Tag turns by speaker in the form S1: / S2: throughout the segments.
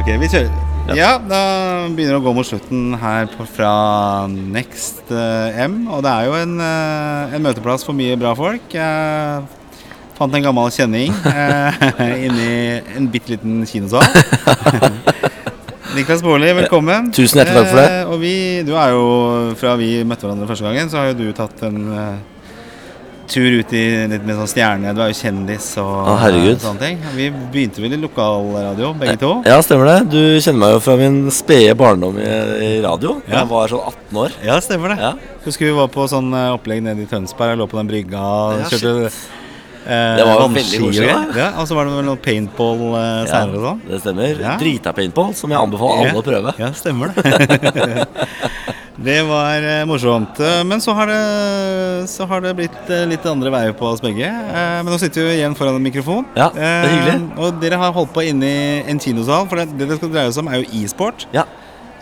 S1: Ok, vi kjører. Ja. da begynner det å gå mot slutten her på, fra Next eh, M. Og det er jo en, eh, en møteplass for mye bra folk. Jeg fant en gammel kjenning eh, inni en bitte liten kinosal. Niklas Baarli, velkommen.
S2: Tusen hjertelig takk for det.
S1: Eh, og vi, du er jo, fra vi møtte hverandre første gangen, så har jo du tatt en eh, tur ut i litt mer sånn stjerne. Du er jo kjendis og
S2: Å, herregud.
S1: sånne ting. Vi begynte vel i lokalradio, begge to.
S2: Ja, stemmer det. Du kjenner meg jo fra min spede barndom i, i radio. Da
S1: Ja.
S2: Jeg var sånn 18 år.
S1: Ja, stemmer det.
S2: Ja.
S1: Husker vi var på sånn eh, opplegg nede i Tønsberg. Jeg lå på den brygga og
S2: Ja,
S1: kjørte eh,
S2: Det var jo
S1: vannski
S2: veldig
S1: og
S2: koselig,
S1: greier.
S2: da.
S1: Ja, og så var det vel noe paintball eh, senere og sånn.
S2: det stemmer.
S1: Ja.
S2: Drita paintball, som jeg anbefaler alle å prøve.
S1: Ja, stemmer det. det var eh, morsomt. Eh, Men så har det, så har det blitt eh, litt andre veier på oss begge. Eh, men nå sitter vi igjen foran en mikrofon.
S2: Ja, det er
S1: Eh,
S2: hyggelig.
S1: og dere har holdt på inne i en kinosal, for det det det skal dreie seg om, er jo e-sport.
S2: Ja.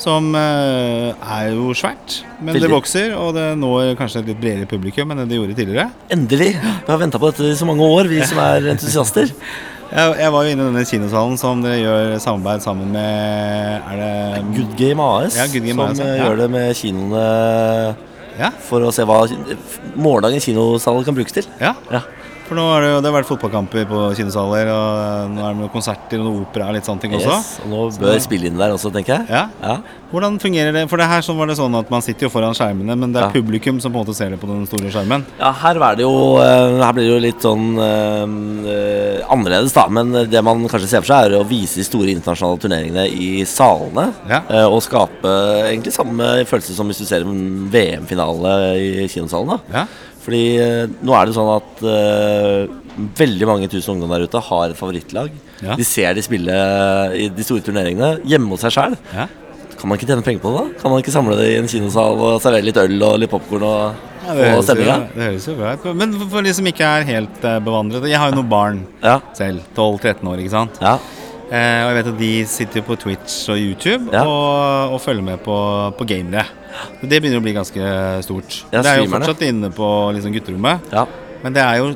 S1: Som eh, er jo svært, men det
S2: Veldig.
S1: vokser, og det når kanskje et litt bredere publikum enn det det gjorde tidligere.
S2: Endelig. Vi har venta på dette i så mange år, vi som er entusiaster.
S1: Jeg, jeg var jo inne i denne kinosalen som dere gjør samarbeid sammen med Er det
S2: Good Game AS,
S1: Ja, Good Game
S2: som
S1: AS,
S2: eh,
S1: ja.
S2: gjør det med kinoene
S1: Ja,
S2: for å se hva morgendagens kinosal kan brukes til.
S1: ja.
S2: Ja.
S1: For nå har det jo det har vært fotballkamper på kinosaler, og nå er det noen konserter og noe opera og litt sånne ting også.
S2: Yes. Og nå bør spille inn der også, tenker jeg.
S1: Ja.
S2: Ja.
S1: Hvordan fungerer det? For det her sånn var det sånn at man sitter jo foran skjermene, men det er
S2: Ja.
S1: publikum som på en måte ser det på den store skjermen.
S2: Ja, her, er det jo, eh, her blir det jo litt sånn eh, eh, annerledes, da. Men det man kanskje ser for seg, er å vise de store internasjonale turneringene i salene.
S1: Ja.
S2: eh, Og skape egentlig samme følelse som hvis du ser en VM-finale i kinosalen. da.
S1: Ja.
S2: Fordi eh, nå er det sånn at eh, veldig mange tusen ungdom der ute har et favorittlag.
S1: Ja.
S2: De ser de spille i de store turneringene hjemme hos seg sjæl.
S1: Ja.
S2: Kan man ikke tjene penger på det, da? Kan man ikke samle det i en kinosal og servere litt øl og litt popkorn og,
S1: Ja,
S2: og
S1: høres jo,
S2: stemninga?
S1: det høres jo bra ut. Men for- for de som ikke er helt eh, bevandret Jeg har jo noen barn
S2: Ja.
S1: selv. 12-13 år, ikke sant.
S2: Ja.
S1: Eh, og jeg vet at de sitter på Twitch og YouTube
S2: Ja.
S1: og, og følger med på, på gamere. Så Det begynner å bli ganske stort.
S2: Ja,
S1: det er jo
S2: streamerne.
S1: fortsatt inne på liksom, gutterommet.
S2: ja.
S1: Men det er jo,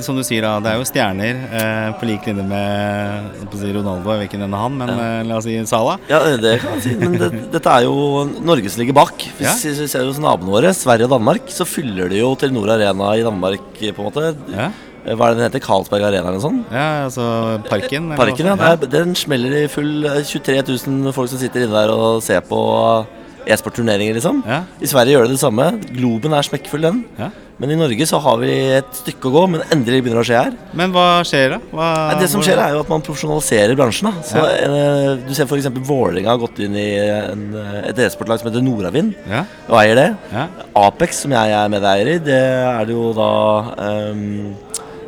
S1: som du sier, da, det er jo stjerner eh, på lik linje med jeg holdt på å si Ronaldo. Jeg vet ikke hvem er han, men eh, la oss si Sala.
S2: Ja, det kan man si, men det, dette er jo Norge som ligger bak. Vi
S1: Ja.
S2: s- s- ser jo hos naboene våre, Sverige og Danmark, så fyller de jo Telenor Arena i Danmark, på en måte.
S1: Ja,
S2: Eh, Hva er det den heter? Carlsberg Arena eller noe sånt?
S1: ja altså Parken. eller
S2: Parken,
S1: hva-
S2: ja. Der, den smeller i full eh, 23 000 folk som sitter inne der og ser på e-sportturneringer, liksom.
S1: Ja.
S2: I Sverige gjør det det samme. Globen er smekkfull, den.
S1: Ja.
S2: Men i Norge så har vi et stykke å gå, men endelig begynner det å skje her.
S1: Men hva skjer, da? Hva,
S2: Nei, det som skjer, er jo at man profesjonaliserer bransjen. Da. Så,
S1: Ja.
S2: eh, du ser f.eks. Vålerenga har gått inn i en, eh, et e-sportlag som heter Nordavind,
S1: Ja,
S2: og eier det.
S1: ja,
S2: Apex, som jeg er medeier i, det er det jo da ehm,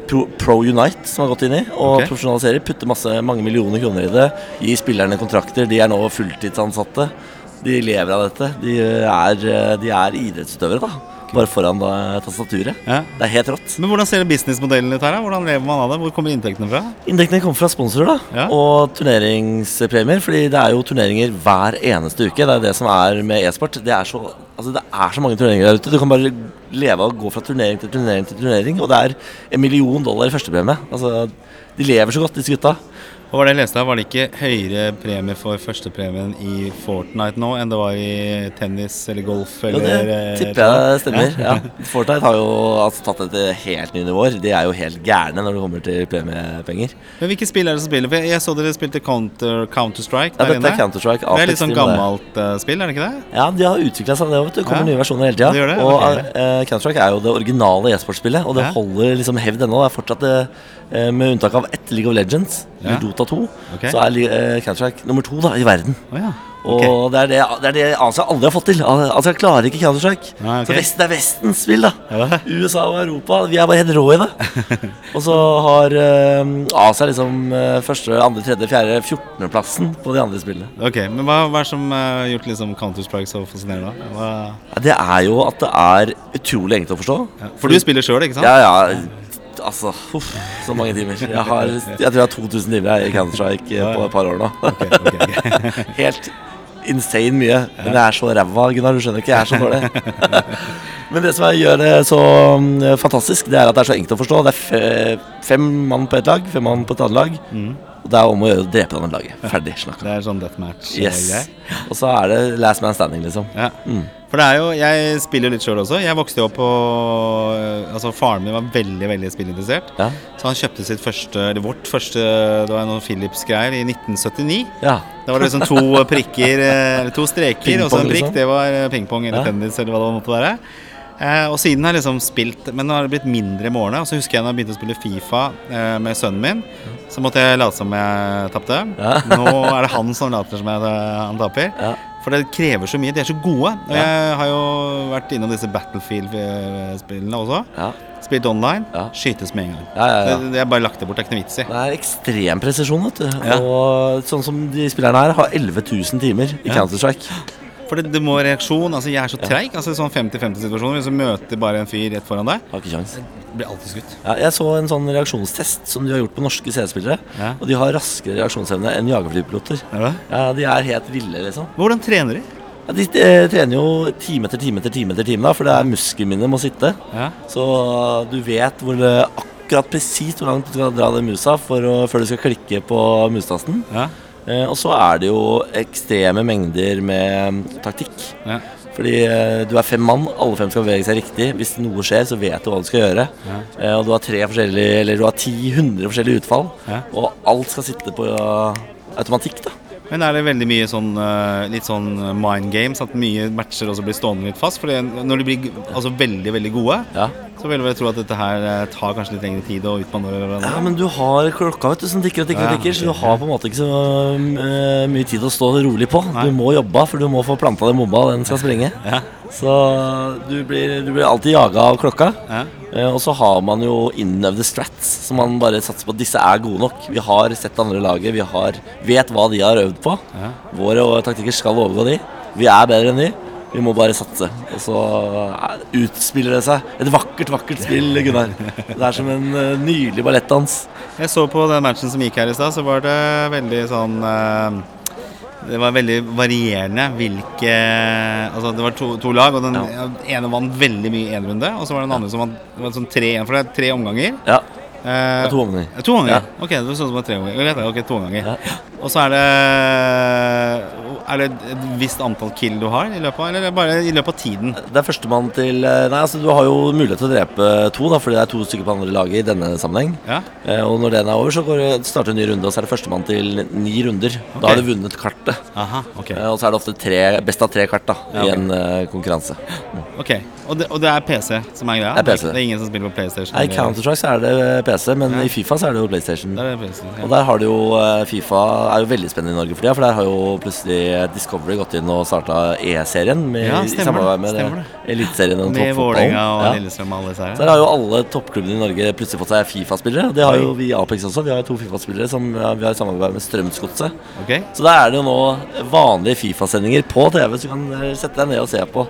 S2: Pro, Pro Unite som har gått inn i og
S1: Ok.
S2: profesjonaliserer. Putter masse, mange millioner kroner i det. Gir spillerne kontrakter. De er nå fulltidsansatte. De lever av dette. De er, eh, de er idrettsutøvere, da. Bare foran da, tastaturet.
S1: ja.
S2: Det er helt rått.
S1: Men hvordan ser businessmodellen ut her? da? Hvordan lever man av det? Hvor kommer inntektene fra?
S2: Inntektene kommer fra sponsorer da,
S1: Ja.
S2: og turneringspremier. Fordi det er jo turneringer hver eneste uke. Det er det som er med e-sport. Det, er så- altså det er så mange turneringer der ute. Du kan bare leve av å gå fra turnering til turnering til turnering. Og det er en million dollar i førstepremie. Altså, de lever så godt, disse gutta.
S1: Og var det jeg leste her, var det ikke høyere premie for førstepremien i Fortnite nå enn det var i tennis eller golf?
S2: Jo,
S1: Eller,
S2: det
S1: eh,
S2: tipper jeg stemmer. Ja. Fortnite har jo altså, tatt det til helt nye nivåer. De er jo helt gærne når det kommer til premiepenger.
S1: sånn? Men hvilke spill er det som spiller? For jeg, jeg så dere spilte Counter- Counter-Strike
S2: Ja,
S1: der
S2: dette
S1: inne.
S2: er Counter-Strike.
S1: det er
S2: Apex
S1: litt sånn
S2: Team, det.
S1: gammelt eh, spill, er det ikke det?
S2: Ja, de har utvikla seg. Det vet du. Det kommer
S1: Ja.
S2: nye versjoner hele
S1: Det gjør
S2: tida.
S1: det,
S2: Og
S1: ok.
S2: eh, Counter-Strike er jo det originale e-sportspillet, og det
S1: Ja.
S2: holder liksom hevd ennå. Det er fortsatt eh, eh, Med unntak av ett League of Legends,
S1: Ja.
S2: eller Dota 2,
S1: Ok.
S2: så er li- eh, Counter-Strike nummer to da, i verden.
S1: Å ja.
S2: Og
S1: ok.
S2: det er det, det er det Asia aldri har fått til. Al- Asia klarer ikke Counter-Strike.
S1: Nei, ok.
S2: Så Vesten er Vestens spill, da.
S1: Ja.
S2: USA og Europa. Vi er bare helt rå i det. og så har eh, Asia liksom eh, første, andre, tredje, fjerde, fjortendeplassen på de andre spillene.
S1: Ok, Men hva, hva er det som har gjort liksom Counter-Strike så fascinerende? da? Hva...
S2: Ja, Det er jo at det er utrolig enkelt å forstå.
S1: Ja. For du spiller sjøl, ikke sant?
S2: Ja, ja. Altså, huff, så mange timer. Jeg, har, jeg tror jeg har 2000 timer jeg i Counter-Strike eh, på et par år nå.
S1: Ok, ok, ok.
S2: Helt insane mye. Men jeg er så ræva, Gunnar. Du skjønner ikke, jeg er så dårlig. Men det som jeg gjør det så mm, fantastisk, det er at det er så enkelt å forstå. Det er fe- fem mann på ett lag, fem mann på et annet lag. Og det er om å gjøre å drepe det andre laget. Ferdig snakka.
S1: Det er sånn deathmatch-greier.
S2: Yes. Og så er det last man standing, liksom.
S1: Ja. For det er jo, jeg spiller jo litt sjøl også. Jeg vokste jo opp på øh, Altså Faren min var veldig veldig spillinteressert.
S2: Ja.
S1: Så han kjøpte sitt første, eller vårt første Det var noen Philips-greier i 1979.
S2: ja.
S1: Da var det liksom to prikker, eh, eller to streker, og så
S2: Pingpong,
S1: en prikk.
S2: liksom.
S1: Det var eh, pingpong eller
S2: Ja.
S1: tennis eller hva det måtte være. Eh, og siden har jeg liksom spilt, men nå har det blitt mindre med årene. Og så husker jeg da jeg begynte å spille Fifa eh, med sønnen min, så måtte jeg late som jeg tapte.
S2: Ja.
S1: Nå er det han som later som jeg, eh, han taper.
S2: Ja.
S1: For det krever så mye. De er så gode. Og
S2: Ja.
S1: jeg har jo vært innom disse Battlefield-spillene også.
S2: ja.
S1: Spilt online.
S2: Ja.
S1: Skytes med en gang.
S2: Ja, ja, ja.
S1: Det, det er bare lagt det bort. Det er ikke noe vits i.
S2: Det er ekstrem presisjon, vet du.
S1: Ja.
S2: Og sånn som de spillerne her har 11 000 timer i
S1: Ja.
S2: Counter-Strike.
S1: For det, det må reaksjon. Altså, jeg er så treig. Altså, sånn 50-50-situasjoner. Hvis du møter bare en fyr rett foran deg,
S2: Har ikke kjangs.
S1: blir alltid skutt.
S2: Ja, jeg så en sånn reaksjonstest som de har gjort på norske CD-spillere.
S1: Ja.
S2: Og de har raskere reaksjonsevne enn jagerflypiloter.
S1: Er det?
S2: Ja, de er helt ville, liksom.
S1: Hvordan trener de?
S2: Ja, de eh, trener jo time etter time etter time, etter time da, for det er muskelminne må sitte.
S1: Ja.
S2: Så du vet hvor det akkurat presist hvor langt du skal dra den musa for å, før du skal klikke på mustasten.
S1: Ja.
S2: Eh, og så er det jo ekstreme mengder med mm, taktikk.
S1: ja.
S2: Fordi eh, du er fem mann, alle fem skal bevege seg riktig. Hvis noe skjer, så vet du hva du skal gjøre. Eh, og du har tre forskjellige, eller du har ti, hundre forskjellige utfall.
S1: Ja.
S2: Og alt skal sitte på ja, automatikk, da.
S1: Men er det veldig mye sånn eh, litt sånn mind games? At mye matcher også blir stående litt fast? For når de blir g- altså, veldig, veldig gode,
S2: Ja.
S1: så vil jeg vel tro at dette her eh, tar kanskje litt lengre tid å utmanøvrere
S2: ja,
S1: hverandre.
S2: men du har klokka vet du, som tikker og tikker,
S1: Ja,
S2: og tikker så du
S1: ok.
S2: har på en måte ikke så eh, mye tid å stå rolig på.
S1: Nei.
S2: Du må jobbe, for du må få planta den bomba, og den skal sprenge.
S1: Ja.
S2: Så du blir, du blir alltid jaga av klokka.
S1: Ja.
S2: Eh, Og så har man jo innøvde strats, som man bare satser på at disse er gode nok. Vi har sett det andre laget, vi har, vet hva de har øvd på.
S1: Ja.
S2: Våre og- taktikker skal overgå de. Vi er bedre enn de. Vi må bare satse. Og så eh, utspiller det seg. Et vakkert, vakkert spill, Gunnar. Det er som en eh, nydelig ballettdans.
S1: Jeg så på den matchen som gikk her i stad, så var det veldig sånn eh, Det var veldig varierende hvilke Altså det var to, to lag, og den ene vant veldig mye i én runde. Og så var det den andre som vant det var sånn 3-1, for det er tre omganger.
S2: Ja,
S1: Eh,
S2: to omganger.
S1: Ja, To omganger.
S2: Ja.
S1: Ok, det var sånn som var tre omganger. Greit, da. ok, to omganger.
S2: Ja.
S1: Og så er det Er det et visst antall kill du har i løpet av Eller er det bare i løpet av tiden?
S2: Det er førstemann til eh, Nei, altså du har jo mulighet til å drepe to, da, fordi det er to stykker på andre laget i denne sammenheng.
S1: Ja.
S2: Eh, Og når den er over, så går det, starter en ny runde, og så er det førstemann til ni runder.
S1: Ok.
S2: Da har du vunnet kartet.
S1: Aha, ok.
S2: Eh, Og så er det ofte tre, best av tre kart da,
S1: Ja, ok.
S2: i en eh, konkurranse.
S1: Ok, og det, og det er PC som er greia?
S2: Det er PC.
S1: Det er ingen som spiller på PlayStation?
S2: Nei, I
S1: eller-
S2: Counter-Strike så er det PC, men i Fifa så er det jo PlayStation.
S1: Der er det PC. Ja.
S2: Og der har du jo eh, Fifa er jo veldig spennende i Norge for tida, for der har jo plutselig eh, Discovery gått inn og starta E-serien med,
S1: Ja,
S2: i
S1: stemmer
S2: samarbeid
S1: det,
S2: med eh,
S1: stemmer
S2: Eliteserien og
S1: Med
S2: toppfotballen.
S1: Vålerenga og
S2: Ja.
S1: Lillestrøm og alle disse
S2: Så
S1: her.
S2: Der har jo alle toppklubbene i Norge plutselig fått seg Fifa-spillere. og Det har jo vi i Apex også. Vi har to Fifa-spillere som ja, vi har samarbeid med Strømsgodset.
S1: Ok?
S2: Så der er det jo nå vanlige Fifa-sendinger på TV, så du kan eh, sette deg ned og se på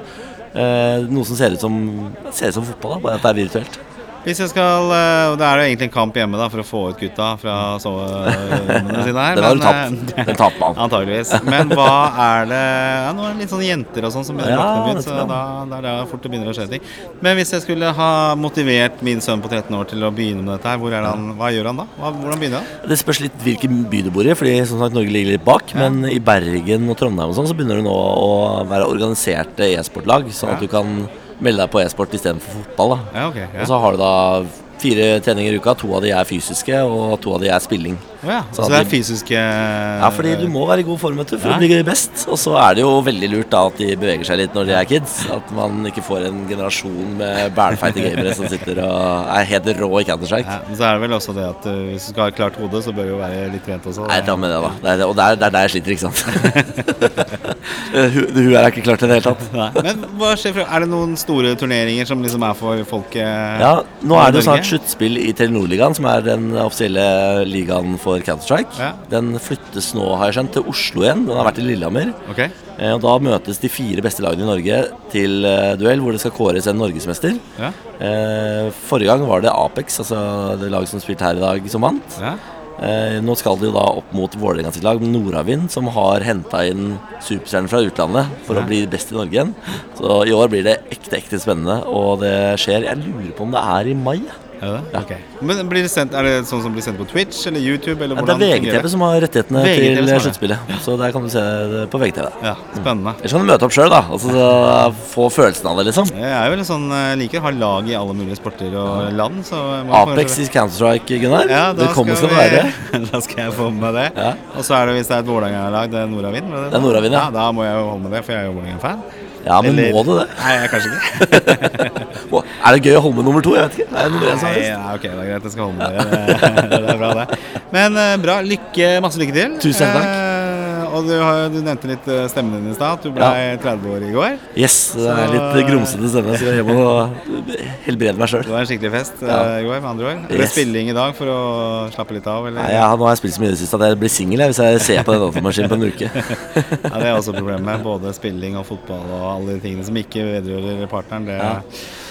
S2: eh, noe som ser ut som, ser ut som fotball, da, bare at det er virtuelt.
S1: Hvis jeg skal eh, Og det er jo egentlig en kamp hjemme da for å få ut gutta fra soverommene sine her.
S2: Den har du
S1: men,
S2: tapt.
S1: eh,
S2: Den taper man.
S1: Antageligvis. Men hva er det ja, Nå er det litt sånn jenter og sånn som begynner å
S2: Ja,
S1: våkne opp litt,
S2: vet
S1: så
S2: du
S1: da, da er det fort det begynner å skje ting. Men hvis jeg skulle ha motivert min sønn på 13 år til å begynne med dette her, hvor er det han, hva gjør han da? Hva, hvordan begynner han?
S2: Det spørs litt hvilken by du bor i, fordi som sagt Norge ligger litt bak. Men i Bergen og Trondheim og sånn, så begynner det nå å være organiserte e-sportlag, sånn at
S1: Ja.
S2: du kan melde deg på e-sport istedenfor fotball. da.
S1: Ja, ok.
S2: Og
S1: Ja.
S2: så har du da fire treninger i uka. To av de er fysiske, og to av de er spilling.
S1: Å ja.
S2: så
S1: Så
S2: at
S1: det er
S2: de-
S1: fysiske
S2: Ja, fordi du må være i god form vet du, for
S1: Ja.
S2: å bli best. Og så er det jo veldig lurt da at de beveger seg litt når de er kids. At man ikke får en generasjon med bælfeite gamere som sitter og er helt rå i Counter-Strike.
S1: Ja, men så er det vel også det at uh, hvis du skal ha et klart hode, så bør du jo være litt trent også.
S2: Nei, ta med det, da. Det er, og det er, det er der jeg sliter, ikke sant. hun, hun er ikke klar til det i det hele tatt.
S1: Nei. Men hva skjer fra Er det noen store turneringer som liksom er for folket?
S2: Ja, Nå er det jo
S1: Norge?
S2: snart sluttspill i Telenor-ligaen, som er den offisielle ligaen for Counter-Strike.
S1: Ja.
S2: Den flyttes nå, har jeg skjønt, til Oslo igjen. Den har vært i Lillehammer.
S1: Ok.
S2: Eh, Og Da møtes de fire beste lagene i Norge til eh, duell, hvor det skal kåres en norgesmester.
S1: Ja.
S2: Eh, forrige gang var det Apex, altså det laget som spilte her i dag, som vant.
S1: ja.
S2: Eh, nå skal de jo da opp mot Vålerenga sitt lag, Nordavind, som har henta inn superstjerner fra utlandet for å bli best i Norge igjen. Så i år blir det ekte, ekte spennende, og det skjer Jeg lurer på om det er i mai? ja.
S1: Er det det? Ok. Men blir det sendt, er det sånn som blir sendt på Twitch eller YouTube? Eller
S2: Ja, det
S1: hvordan
S2: er
S1: fungerer
S2: VGTV som har rettighetene
S1: VGTV som
S2: til
S1: har det.
S2: sluttspillet. Så der kan du se det på VGTV.
S1: Ja, spennende.
S2: Ellers kan du møte opp sjøl, da. Altså, så få følelsen av det, liksom.
S1: Jeg er jo litt sånn, eh, liker å ha lag i alle mulige sporter og land. Så jeg må
S2: Apex
S1: kanskje-
S2: i Counter-Strike, Gunnar.
S1: ja, da
S2: Velkommen skal
S1: skal
S2: du være.
S1: vi- Da skal jeg få med meg det.
S2: Ja.
S1: Og så er det hvis det er et Vålerenga-lag, det er Nordavind. var
S2: Det er Nordavind, ja.
S1: ja. Da må jeg jo holde med det, for jeg er jo Vålerenga-fan.
S2: Ja, men
S1: Eller-
S2: må du det?
S1: Nei, jeg er kanskje ikke.
S2: Må- Er det gøy å holde med nummer to? Jeg vet ikke. Er det noe som
S1: Nei,
S2: helst?
S1: ja, ok, det er greit. Jeg skal holde med det. Det er bra, det. Men eh, bra. Lykke, masse lykke til.
S2: Tusen takk.
S1: Eh, og du, har- du nevnte litt eh, stemmen din i stad. at Du ble 30 år i går.
S2: Yes, det er litt
S1: Så-
S2: grumsete stemme, så jeg må helbrede meg sjøl.
S1: Det var en skikkelig fest
S2: Ja.
S1: eh, i går, med andre ord. Er det
S2: Yes.
S1: spilling i dag for å slappe litt av, eller?
S2: Nei, jeg, har- nå har jeg spilt så mye i det siste at jeg blir singel hvis jeg ser på den datamaskinen på en uke.
S1: Ja, det er også problemet. Både spilling og fotball og alle de tingene som ikke vedrører partneren.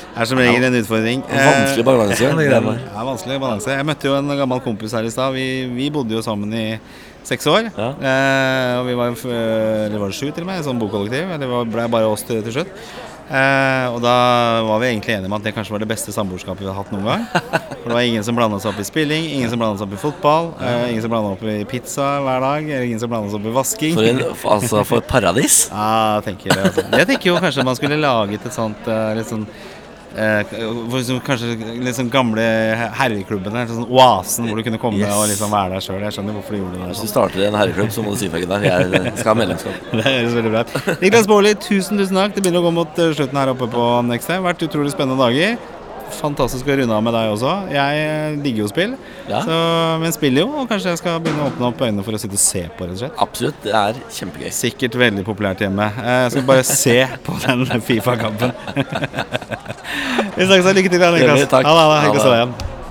S1: Det er som regel en utfordring. Eh,
S2: Vanskelig balansegang,
S1: det
S2: det greiene der.
S1: er vanskelig balanse. Jeg møtte jo en gammel kompis her i stad. Vi, vi bodde jo sammen i seks år.
S2: Ja.
S1: Eh, og vi var, f- eller var det sju til og med, i sånn bokollektiv. Det var- ble bare oss til, til slutt. Eh, og da var vi egentlig enige om at det kanskje var det beste samboerskapet vi har hatt noen gang. For det var ingen som blanda seg opp i spilling, ingen som blanda seg opp i fotball, eh, ingen som blanda opp i pizza hver dag, ingen som blanda seg opp i vasking.
S2: For, en, for- altså, for et paradis.
S1: Ja, jeg tenker det. Altså. Jeg tenker jo kanskje man skulle laget et sånt eh, litt sånn eh, hvor som kanskje litt sånn gamle herreklubbene, sånn oasen hvor du kunne komme
S2: Yes.
S1: og liksom være der sjøl. Jeg skjønner hvorfor du gjorde
S2: Hvis
S1: det. der
S2: du
S1: sånn.
S2: starter en herreklubb, så må du si fra, Gunnar. Jeg skal ha medlemskap.
S1: Det høres veldig bra ut. Niklas Baarli, tusen tusen takk. Det begynner å gå mot eh, slutten her oppe på Next Time. Vært utrolig spennende dager. Fantastisk å runde av med deg også. Jeg eh, digger jo spill,
S2: Ja.
S1: så, men spiller jo. Og kanskje jeg skal begynne å åpne opp øynene for å sitte og se på, rett og slett.
S2: Absolutt. Det er kjempegøy.
S1: Sikkert veldig populært hjemme. Eh, Jeg skal bare se på den Fifa-kampen. Vi snakkes og lykke til. Jan Niklas.
S2: Takk.
S1: Ha det. ha det. Hyggelig å se deg
S2: Ha
S1: igjen.